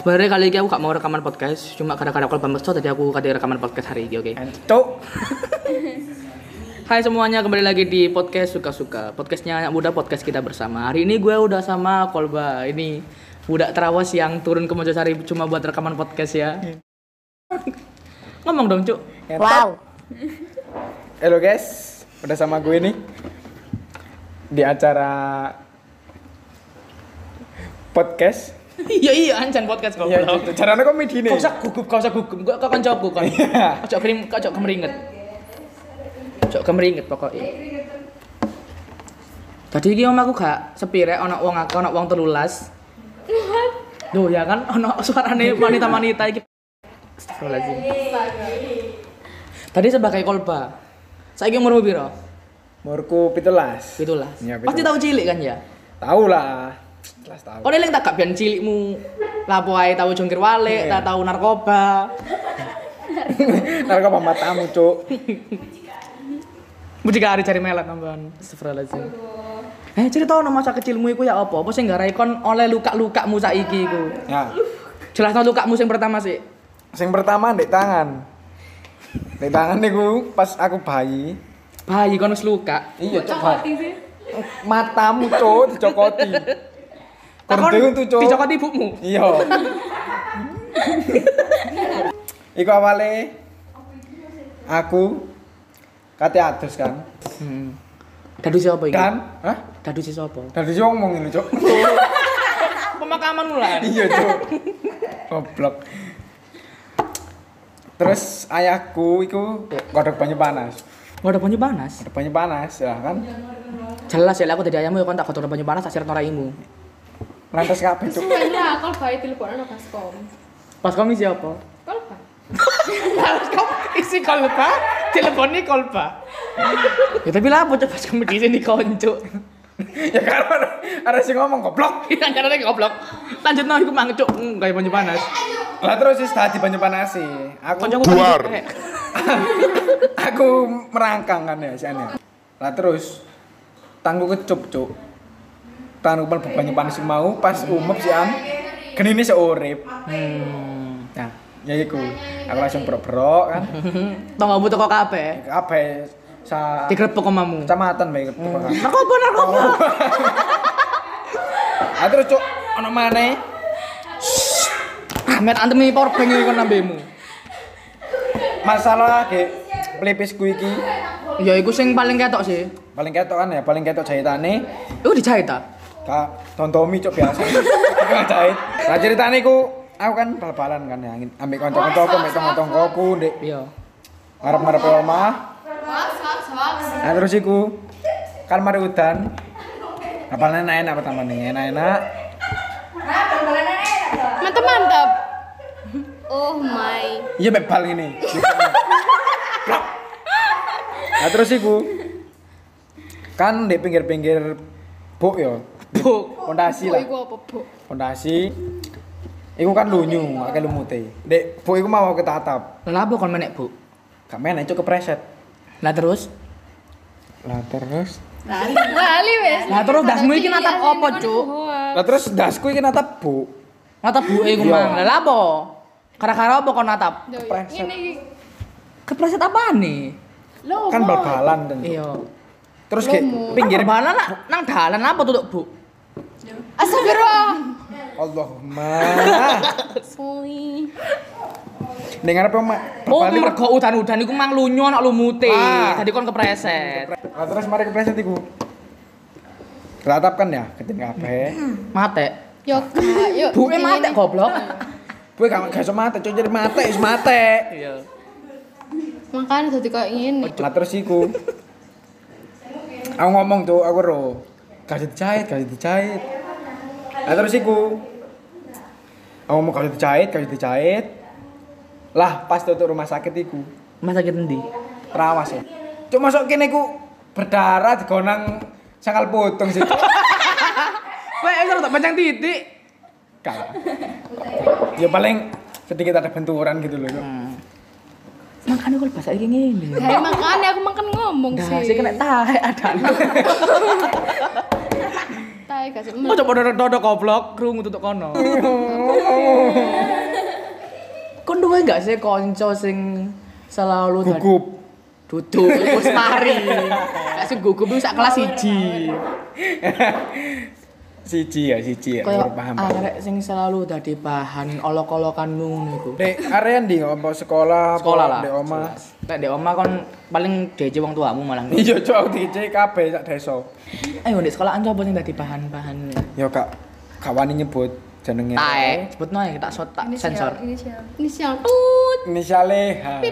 Sebenarnya kali ini aku gak mau rekaman podcast, cuma gara-gara aku pembeso tadi aku kata rekaman podcast hari ini, oke. Entuk. Hai semuanya, kembali lagi di podcast suka-suka. Podcastnya anak muda, podcast kita bersama. Hari ini gue udah sama Kolba. Ini budak terawas yang turun ke Mojosari cuma buat rekaman podcast ya. Ngomong dong, Cuk. Wow. Halo guys, udah sama gue nih di acara podcast. Iya iya, ancan podcast Ya, goblok. gitu. caranya komedi nih. Kau usah gugup, kau usah gugup. Gua kau kancaku kan. Iya. Ojo kering, kau ojo kemeringet. Ojo kemeringet pokoknya. Tadi iki omahku gak sepi rek ana wong akeh, ana wong 13. Duh ya kan ana suarane wanita-wanita iki. Astagfirullahaladzim. Tadi sebagai kolba. Saiki umurmu piro? Umurku pitulas. Itulah. Iya, pitulas. Pasti tahu cilik kan ya? Tahu lah. Jelas tahu. Kau eling tak gak biyen cilikmu. Lapo ae tahu jongkir walik, tak tahu narkoba. Ntar kau matamu, Cuk. Bujikari cari melet tambahan. Astagfirullahaladzim. Eh cerita no masa kecilmu iku ya apa? Apa sing gara kon oleh luka-lukamu saiki iku? Ya. Jelas no lukamu sing pertama sih. Sing pertama ndek tangan. Ndek tangan niku pas aku bayi. Bayi kon wis luka. Iya, Cuk. Matamu, Cuk, dicokoti. Takon Kordeu tuh, Cuk. dicokot ibumu. Iya. Iku awale aku kate adus kan. Hmm. Kan? Dadu siapa iki? Dan, hah? Dadu si sapa? Dari sing ngomong ini, Cuk. Pemakaman mulan. iya, Cuk. Goblok. Terus ayahku iku kodok banyu panas. Ngono banyu panas. Kodok banyu panas ya kan. Jelas ya lah, aku dadi ayammu ya kon tak kotor banyu panas tak sirat noraimu. Lantas kabeh, Cuk. Sebenarnya kalau bayi telepon anak baskom. Pas kamu isi apa? Kalau bayi. Pas kamu isi kolba, teleponnya kolba. ya tapi lah bocah pas kamu di sini konco. ya kan ada ada sing ngomong goblok. Kita caranya goblok. Lanjut no, iku mang cuk, gaya banyu panas. Lah terus wis tadi banyu panas sih. Aku Kancaku Keluar. kan- eh, aku merangkang kan ya siannya lah terus tangku kecup cuk tangku pal banyu panas sing mau pas umep sian geni ini seorip Hmm. nah ya iku aku langsung berok-berok kan Hmm, Tonggo butuh kok kabeh. kabeh sa Digrebek omamu. kecamatan baik Narkoba narkoba. ah terus cuk ono maneh Amet antemi power bank iki kon nambemu. masalah ge pelipisku iki Ya iku sing paling ketok sih. paling ketok kan ya paling ketok jahitane Iku dijahit ta? Kak, tontomi cok biasa. Iku nggak jahit. Nah ceritane iku aku kan bal-balan kan ya ambek kanca-kanca aku ambek tonggo-tonggo aku ndek Iya. ngarep-ngarep omah. Nah terus iku kan mari udan. Apalane enak-enak pertama nih, enak-enak. Mantap mantap. Oh my. Iya mek bal ngene. Plak. Nah terus iku kan ndek pinggir-pinggir buk yo. Buk. Pondasi Bu lah. iku apa bu? Pondasi iku kan lunyu, akeh lumute. Ndek buk iku mau ketatap. Lah apa kon menek, Bu? Gak main aja kepreset. Lah terus? Lah terus. Lali wes. Lah terus dasmu iki natap opo, Cuk? Lah terus dasku iki natap bu. Natap buke iku Iya. mang. Lah apa? Kara-kara apa kon natap? Kepreset. ya. Ini iki. Kepreset apaan nih? Loh, Kan Bu. bal-balan kan. Cuk. Iya. Terus ke Pinggir pinggir balan lah, nang dalan apa tuh, Bu? Astagfirullah. Allahumma. Sui. Ning ngarepe mak Oh, berbalik. mergo udan-udan iku mang lunyu anak lumute. Ah. Tadi kon kepreset. Lah terus mari kepreset iku. Keratap kan ya, ketin kabeh. Mate. Yo, gak, yo. Buke eh, mate goblok. Gue gak gak iso mate, cok jadi mate, is mate. Iya. Makanya jadi kayak gini. Lah terus iku. Aku ngomong tuh, aku ro. Kasih dijahit, kasih dijahit. Lah terus iku. Aku mau kasih dijahit, kasih dijahit. Lah pas tutup rumah sakit iku, Mas sakit endi? terawas ya. Cuk masuk kene iku berdarah digonang sangkal potong sih. Weh, wis tak pancang titik. Kalah. Ya paling sedikit ada benturan gitu loh. Cuk. Hmm. Makane kok bahasa iki ngene. Gak makanya Nah, aku makan ngomong Dah, sih sih. kena tahe ada. Tai ae gak sik Oh coba dodok dodok goblok krungu tutuk kono. Kon duwe gak sih konco sing selalu dad- gugup duduk wis mari. Gak sing gugup iku sak kelas 1. siji ya siji ya Kayak baru paham arek sing selalu dadi bahan olok-olokan ngono iku. Dek, area di apa sekolah, apa Sekolah lah. Dek oma. Nek di oma kon paling dhewe wong tuamu malah. Iya, cok DJ kabeh sak desa. Ayo di sekolahan coba sing dadi bahan-bahan. Yo Kak, kawani nyebut jenenge. Tae, sebutno ae tak so- tak sensor. Inisial tut. Inisiale H.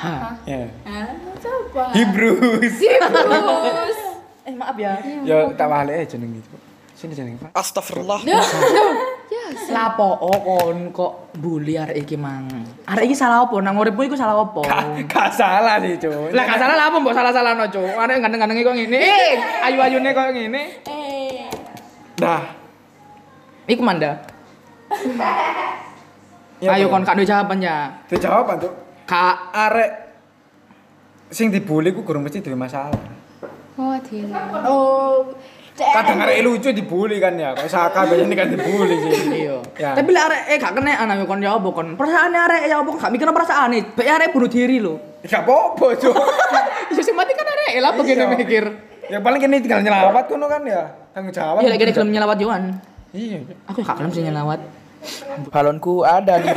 Hah. Ya. Ah, coba. Hibrus. Eh maaf ya. Yo tak wale eh jenenge. Cok. Sini jenenge, Pak. Astagfirullah. Lapo oh, kon kok bully arek iki mang. Arek iki salah opo? Nang uripmu iku salah opo? Gak salah sih, Cuk. Lah gak salah lah apa mbok salah-salahno, Cuk. Arek ganteng-gantenge kok ngene. Eh, ayu-ayune kok ngene. Nah, Iku manda. Iya, Ayo kon kak duwe jawaban ya. Itu jawaban, Cuk. Kak Arek sing dibully ku gurung mesti duwe masalah. Oh, dino. Oh, Kadang arek lucu dibully kan ya. Kok saka biasanya kan dibully sih. Iya. Ya. Tapi lek arek eh gak kena ana kon ya opo kon. Perasaane arek ya opo gak mikirno perasaane. Bek arek bunuh diri lho. Gak apa-apa, Cuk. Ya sing mati kan arek lah begini Iya. mikir. Ya paling kene tinggal nyelawat kono kan ya. Tanggung jawab. Ya lek kene gelem nyelawat Yohan. Iya. Aku gak gelem sih nyelawat. Balonku ada di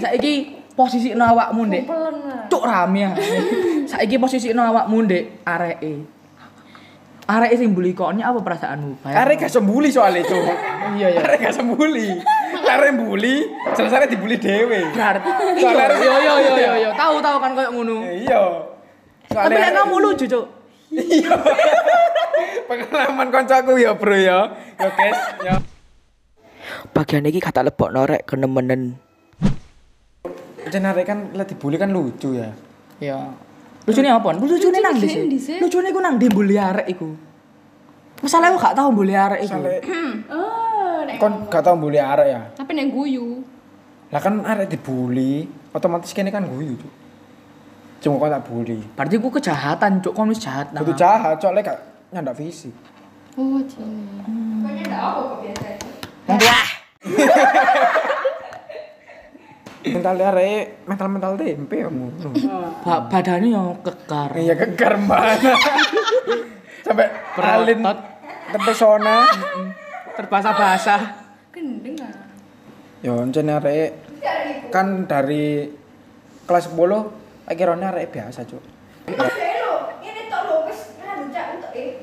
Saiki posisi no awakmu, Ndek. Cuk rame ya. Saiki posisi no awakmu, Ndek, areke. Areke e sing mbuli koknya apa perasaanmu? Bayang. Arek gak sembuli soalnya cuk. Iya, iya. Arek gak sembuli. Arek mbuli, selesai dibully dhewe. berarti. Iya, Soalnya arek- Yo yo yo yo yo. Tahu tahu kan koyo ngono. Ya, Iya. Tapi lek arek- kamu lucu, Cuk. Iya. Pengalaman koncoku ya, Bro ya. Yo guys, ya. yo. Bagian iki kata lepok norek kenemenen. Jen arek kan lek dibully kan lucu ya. Ya. Lucu nih apa? Lucu nih nang di di sih. Lucu nih gue nang di bully arek iku. Masalah aku gak tau bully arek iku. Soalnya Oh, nek- kon gak tau bully arek ya. Tapi nek guyu. Lah kan arek dibully, otomatis kene kan guyu, Cuk. Cuma kok tak bully. Berarti gue kejahatan, cuk. Kamu jahat. Kudu jahat, cok lek gak nyandak fisik. Oh, dino. Mental arek mental-mental tempe kamu. Ba- badannya yang kekar. Iya keker banget. Sampai alin Perotot. terpesona. Terbasah-basah. Yo encen arek ya, kan dari kelas 10 akhirnya arek biasa, Cuk.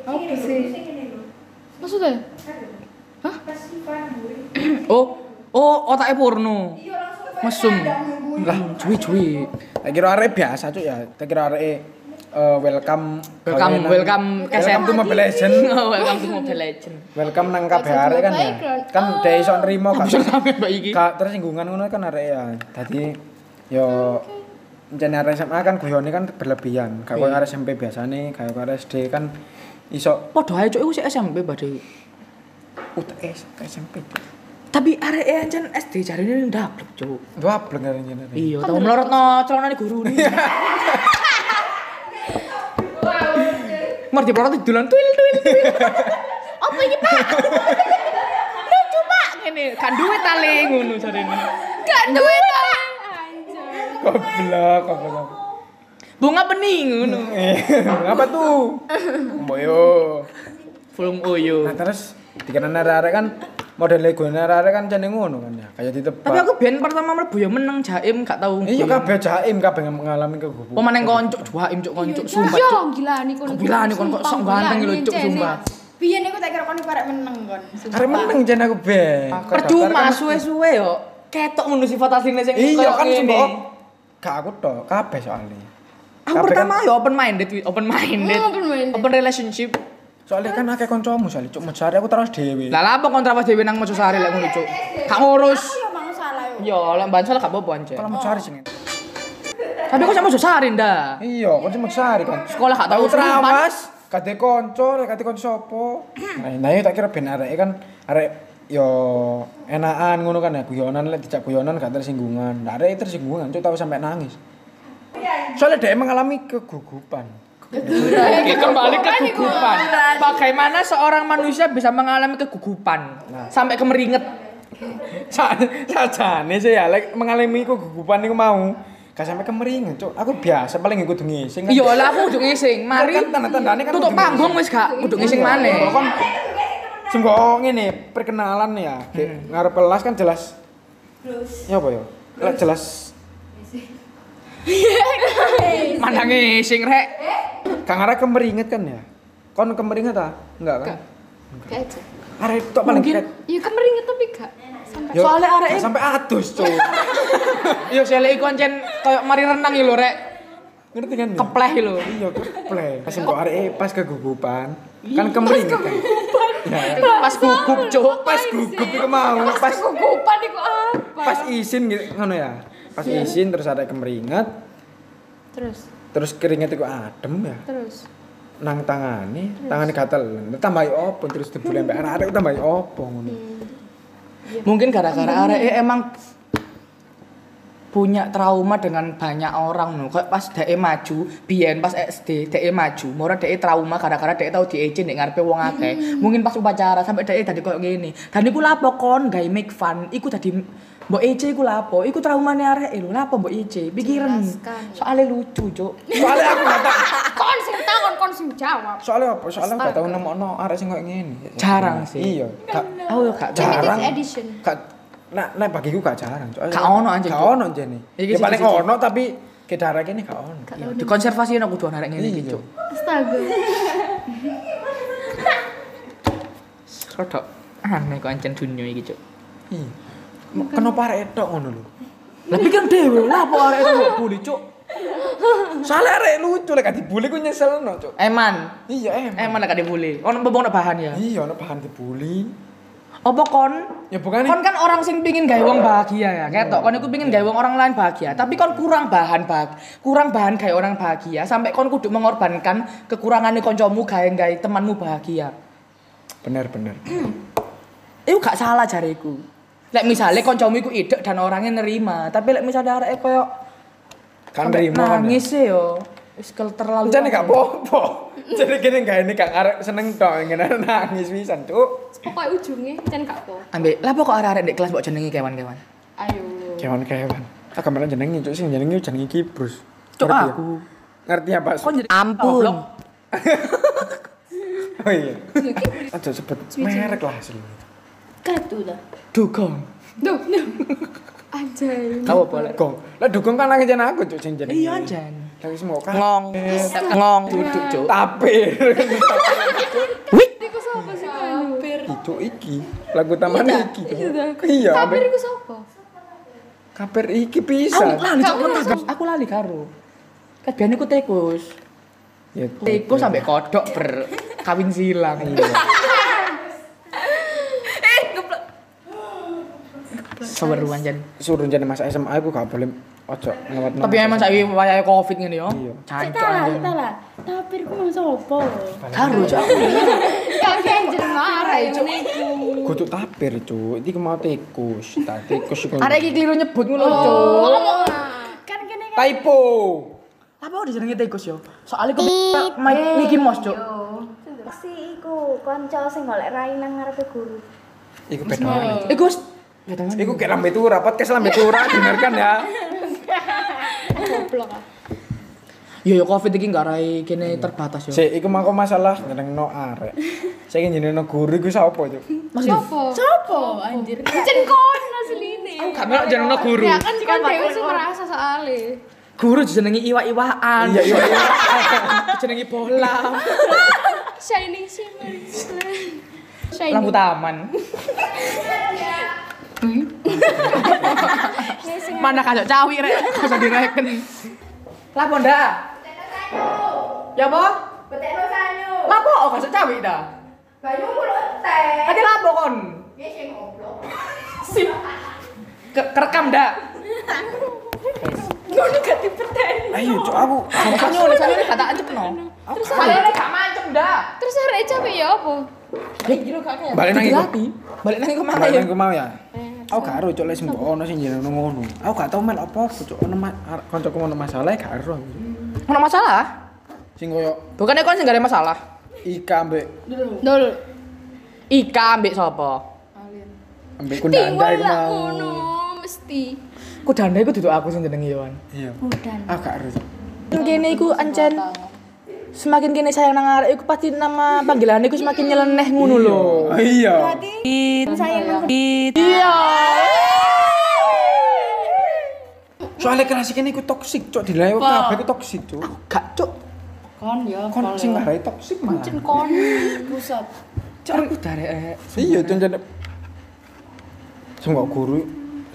Apa sih? Maksudnya? Oh, oh otaknya porno. Mesum. Lah, cuy cuy. Akhirnya arek biasa, Cuk ya. Akhirnya arek eh, welcome Welcome, gawenan. welcome ke Welcome to Mobile Legend. Welcome to Oh, Mobile Legend. Welcome nang kabeh arek kan ya. Kan dhek iso nrimo kan. Sampai mbak iki. Kak tersinggungan ngono kan arek ya. Dadi yo encen arek SMA kan guyone kan berlebihan. Gak koyo arek SMP biasane, gak koyo arek SD kan iso Podo aja cuk, iku sik SMP badhe. UTS ke SMP Tapi arek e ancen SD jarine ndablek, cuk. dua pelanggaran ini Kan Iya, tau melorot no celana guru nih. Mar di pelorot dulan tuil tuil tuil. Apa ini pak? Lucu pak ini. Kan duit tali ngono jarene. Gak duwe ta. goblok goblok Bunga bening ngono. eh apa tuh boyo Fulung oyo. nah terus dikarenakan arek-arek kan model Lego arek-arek kan jeneng ngono kan ya kayak ditebak Tapi aku biyen pertama mlebu ya meneng jaim gak tau. iya kabeh jaim kabeh mengalami kegugupan Pemaneng koncuk, jaim cuk koncuk Iya, sumpah Yo, cuk. gila nih kon. Kok gila nih, kon kok sok ganteng lho, Cuk, sumpah. biar aku tak kira kau nih menang kon. arek meneng jen aku ben Percuma suwe-suwe yo ketok ngono sifat asline sing kan- iya koyo kan ngene. sembo gak aku tok kabeh soalnya Aku Kabeh pertama kan- ya open minded, wi. open minded. Hmm, open minded. Open relationship. soalnya kan akeh kancamu soalnya cuk mencari aku terus dhewe Lah lah apa kontra pas dhewe nang Mojosari lek ngono cuk. Gak ngurus. Yo mang salah yo. Ya, lek bansal gak apa-apa anjir. kalau mencari sing Tapi kok sama Mojosari ndak? Iya, kon cuma sehari kan. Sekolah gak tahu terawas. Kate konco, kate konco sapa? Nah, nah iya tak kira ben areke kan arek yo enakan ngono kan ya guyonan lek dijak guyonan gak tersinggungan. Nah, arek tersinggungan cuk tau sampai nangis. Soalnya dia mengalami kegugupan. Oke, kembali ke Kegugupan kegugupan. Bagaimana seorang manusia bisa mengalami kegugupan sampai kemeringet? sajane sih ya lek mengalami kegugupan niku mau gak sampai kemeringan cuk aku biasa paling ikut ngising Iya lah aku udah ngising. Mari Kan tanda-tandanya kan tutup udah panggung wis gak udah ngising Kalau maneh. kan sing kok ngene perkenalan ya hmm. ngarep kelas kan jelas ya apa ya Lek jelas Mana ngising rek? Kang Ara kemeringet kan ya? Kon kemeringet ah? Enggak kan? Gak aja. Arek tok paling Mungkin. kret. Iya kemeringet tapi gak. Sampai. Yo, Soalnya arek- gak sampai atus, cuy. Iya sele iku ancen koyo mari renang iki lho rek. Ngerti kan? ya? Kepleh iki lho. Iya, keplek. Pas kok arek pas kegugupan, kan kemeringet kan. Ya, Pas gugup cuk. pas gugup iku mau, pas Kegugupan iku apa? pas isin gitu ngono ya. Pas Iya. isin terus arek kemeringet, Terus, terus keringet iku adem ya. terus. Nang tangane, tangane gatel. Tambahi opo terus dibule mbak arek tambahi opo ngono. Hmm. Mungkin gara-gara arek eh, emang punya trauma dengan banyak orang no. Kayak pas dhek maju, biyen pas SD dhek e maju, mora dhek trauma gara-gara dhek tau diejek nek ngarepe wong akeh. Mungkin pas upacara sampai dhek dadi koyo ngene. Dan iku lapo kon gawe make fun, iku dadi mbok ece iku lapo? Iku traumane arek e lho, lapo mbok ece? Pikiran. Jelaskan. Soale lucu, Cuk. Soalnya aku gak tau. Kon sing takon, kon sing jawab. Soalnya apa? Soalnya aku gak tau nemokno arek sing koyo ngene. Jarang sih. Kan Iya, gak Aku yo gak Limited jarang. edition. Gak nah, nah bagiku gak jarang. Soalnya- Gak ono anjing, Gak Cuk. ono jene. Iki Ya siji- paling siji. ono tapi kedara kene gak ono. Iya, dikonservasi aku dua arek ngene iki, Iya. Cuk. Astaga. Rodok aneh kok ancen dunia iki, Cuk. Iya. Ma- Kenapa arek etok ngono lho? Lah pikir dhewe lapo arek itu mbok bully, Cuk. Soalnya arek lucu lek gak dibully ku nyeselno, Cuk. Eman, Iya, emang. eman gak dibully. Ono bobong bahan ya. Iya, ono bahan dibully. Apa kon? Ya bukan Kon kan orang sing pingin gawe wong bahagia ya, ketok. Kon iku pingin gawe wong orang lain bahagia, tapi kon kurang bahan bah kurang bahan gawe orang bahagia sampai kon kudu mengorbankan kekurangannya koncomu gawe gawe temanmu bahagia. bener-bener. Iku gak salah jariku. Lek misalnya koncomu iku idek dan orangnya nerima, tapi lek misalnya arek koyo Kan sampai rimo kan. nangis sih yo. Wis kel- terlalu. Jadi gak lama. popo. Jadi gini gak ini gak arek seneng tok ngene nangis pisan, Cuk. Pokoknya ujungnya, jangan gak apa. Ambek, lah pokok arek-arek di kelas mbok jenengi kewan-kewan. Ayo. Kewan-kewan. Ah, gambaran jenenge, Cuk, sing jenenge jenenge Kibrus. Cuk, Ngerti ya? aku. Ngerti ya, apa? Cuk? jadi ampun. Oh iya. Aduh sebut merek lah sih. Kartu dah. Dukung. Duh, duh. Anjay. Kau boleh. Gong. Lah dukung kan lagi jan aku cuk jeneng. Iya, Jan. Lagi semua kan. Ngong. Ngong. Duduk, Cuk. Tapir. Iku sapa sih kan? Itu iki. Lagu taman iki. Iya. Kabir ambil- iku sapa? Kaper iki Aku bisa. lali, Cuk. Gak Aku usah. tak- Aku lali karo. Kabian iku tikus. Iya. Ya. Tikus sampai kodok ber kawin silang. Iya. Seweruan, Jan. Suruh jadi masa SMA aku gak boleh ojo ngelewat. Tapi emang saiki wayahe Covid ngene yo. Iya. Cancuk Cita lah, anjing. cita lah. Tapi aku mau sopo. Karo, Cuk. Gak ganjel marah ya. Kudu tapir cuk. Iki mau tikus. Tak tikus iku. Arek iki keliru nyebut ngono, Cuk. Kan kene kan. Typo. Apa udah jenenge tikus yo? Soalnya kok main Mickey Mouse, Cuk. Si iku kanca sing golek rai nang ngarepe guru. Iku beda. Iku wis- Ya, teman. Iku kayak lambe tura, podcast lambe tura, dengarkan ya. Goblok ah. Iya, Yo yo Covid iki gak rai kene terbatas yo. Sik, iku mangko masalah nyenengno arek. Saiki nyenengno guru iku sapa, Cuk? Masih. Sapa? Sopo anjir. Jen kon asline. Aku gak melok jenengno guru. Ya kan kon dhewe sing merasa soalnya. Guru jenengi iwa-iwaan. Iya, iya. jenengi bola. Shining shimmering. shimmering. Shining. Lampu taman. Mana kajak cawi rek, kajak direken. Lapo ndak? Ya apa? Betekno sanyu. Lapo oh kajak cawi dah. Banyumu lho entek. Tadi lapo kon? Ya sing goblok. Sip. Ke- kerekam ndak? Ayo, Cuk, aku Makanya oleh sampe kata ancep no. Terus kalian gak mancep ndak? Terus arek capek ya apa? balik nang iku. Dilatih. Balik nang iku mana Balik ya? nang iku mau ya. Aku gak ero, Cuk, lek sing mbok ono sing nyenengno ngono. Aku gak tau mel apa, Cuk. Ono ma- ar- kancaku ono masalah gak ero. aku, Cuk. Ono masalah? sing koyo Bukannya kon sing gak ada masalah. Ika ambek Dul. Ika ambek sapa? ambek Tiwa kundang iku lah mau. ngono mesti. Ku dandai ku duduk aku sing jenengi Yohan. Iya. Udan. Aku gak harus. Semakin kene iku ancen semakin kene sayang nang arek iku pasti nama panggilan iku semakin nyeleneh ngono lho. Oh iya. Iya. Soalnya kerasi kene iku toksik, cok. Dilayo kabeh iku toksik, cok. Gak cuk. Kon ya. Kon sing ngarai toksik malah. Kan Kon. Pusat. Cuk aku darek. eh, Iya, cok. jane- Sungguh guru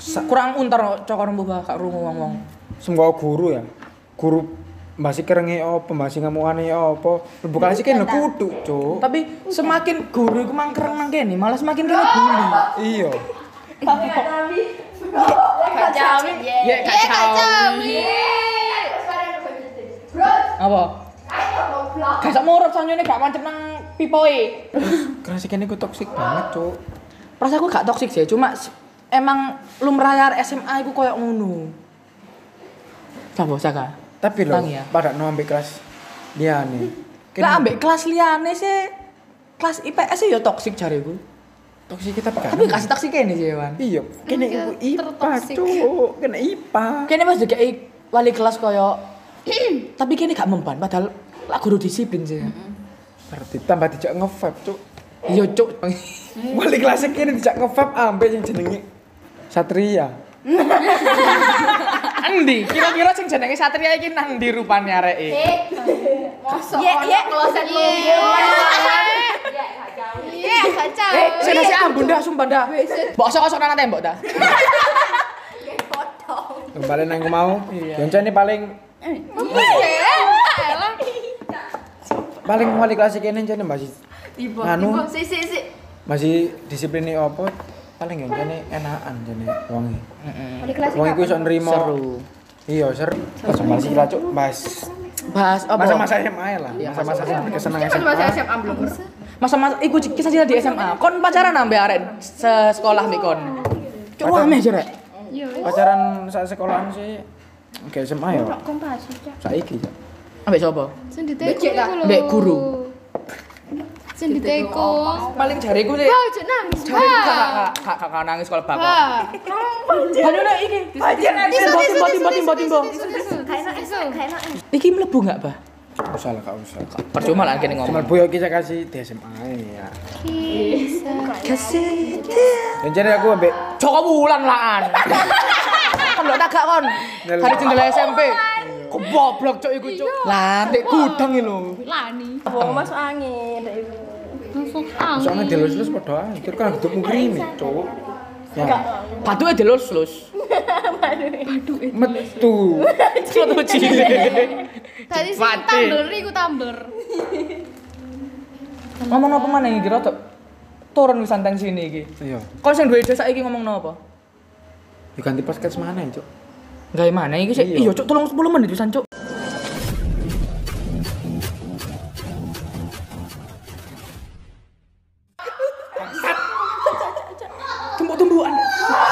sa- Kurang untar cokor mbuh kak rungu wong-wong. sungguh guru ya. Guru masih kerengi apa, masih ngamukane apa. Bukan sih kene kudu, cok. Tapi semakin guru iku mangkreng nang kene malah semakin kene bully. Iya. Ya gak Kacawi. Apa? Gak sak murut sanyone gak mancep nang pipoe. Kerasi kene iku toksik banget, cok. Perasaanku gak toksik sih, cuma s- emang lumrah arek SMA iku koyo ngono. Sapa saka? Tapi lho, Tang ya. pada no ambek kelas dia nih. Lah ambek kelas liyane sih kelas IPS sih ya toksik jariku. toksik kita pakai. Tapi kasih toksik kene sih, Wan. Iya, kene Iya, iku IPA, tertoksik. cuk. Kene IPA. Kene Mas juga wali kelas koyo tapi kene gak mempan padahal lah guru disiplin sih. Berarti tambah dijak nge-vape, cuk. Iya, cuk. Wali kelas kene dijak nge-vape ah, ambek yang jenenge Satria. Endi? Kira-kira sing jenenge Satria iki nang ndi rupane areke? Mosok Ye, ono ye. kloset lu. Iya, Kacawi. Iya, Kacawi. Sing nasi ambun dah Oh, iya, sumpah dah. Mbok sok-sok nang tembok dah. Kembali nang mau. Yonca ini paling Iya, elah. paling wali kelas kene jane masih Tiba. anu Si si si. masih disipline apa paling Yonca ini enakan jane wonge. Di kelas Hmm. Wong iku iso nrimo. Seru. Iya, seru. Pas bahas iki lah, cuk, bahas Bahas apa? Iya, masa-masa SMA ya lah. Masa-masa kesenangan SMA. SMA belum. masa-masa iku kisah cinta di SMA kon pacaran ambek arek se- sekolah mbek kon cowok Pacaran. ameh jerek Pacaran saat sekolahan sih Oke SMA ya. kompasi cak. Saiki ya. ambek sapa Sing diteku iku lho. Dek guru. Sing diteku. paling jariku sih Wah, jek nangis. Wah. kakak kakak kakak nangis sekolah bapak Wah. Aduh, nah, iki pacaran timbo timbo timbo timbo timbo Kayak enak, kayak enak. iki mlebu enggak bah Gak usah lah, gak usah. percuma lah kene Cuma ngomong Bu kita kasih di SMA ya. Dan jadi aku ambek Joko Wulan lah an kon lo tagak kon hari jendela SMP goblok cok iku cok lah ndek gudang iki lho Lani. Wong masuk angin. dek ibu. Masuk angin. soalnya dilus-lus padha ae. Kira kan hidupmu krimi, Cuk. Ya, batuke delus-lus metu. foto cilik Tadi sih Mati. tumbler iku tumbler. ngomong apa mana iki rotok turun wis santeng sini iki Iya, kon sing duwe ide saiki ngomong apa diganti podcast mana, Cuk? gawe mana iki sih Iya. iya cuk tolong 10 menit pisan cuk tumbuh-tumbuhan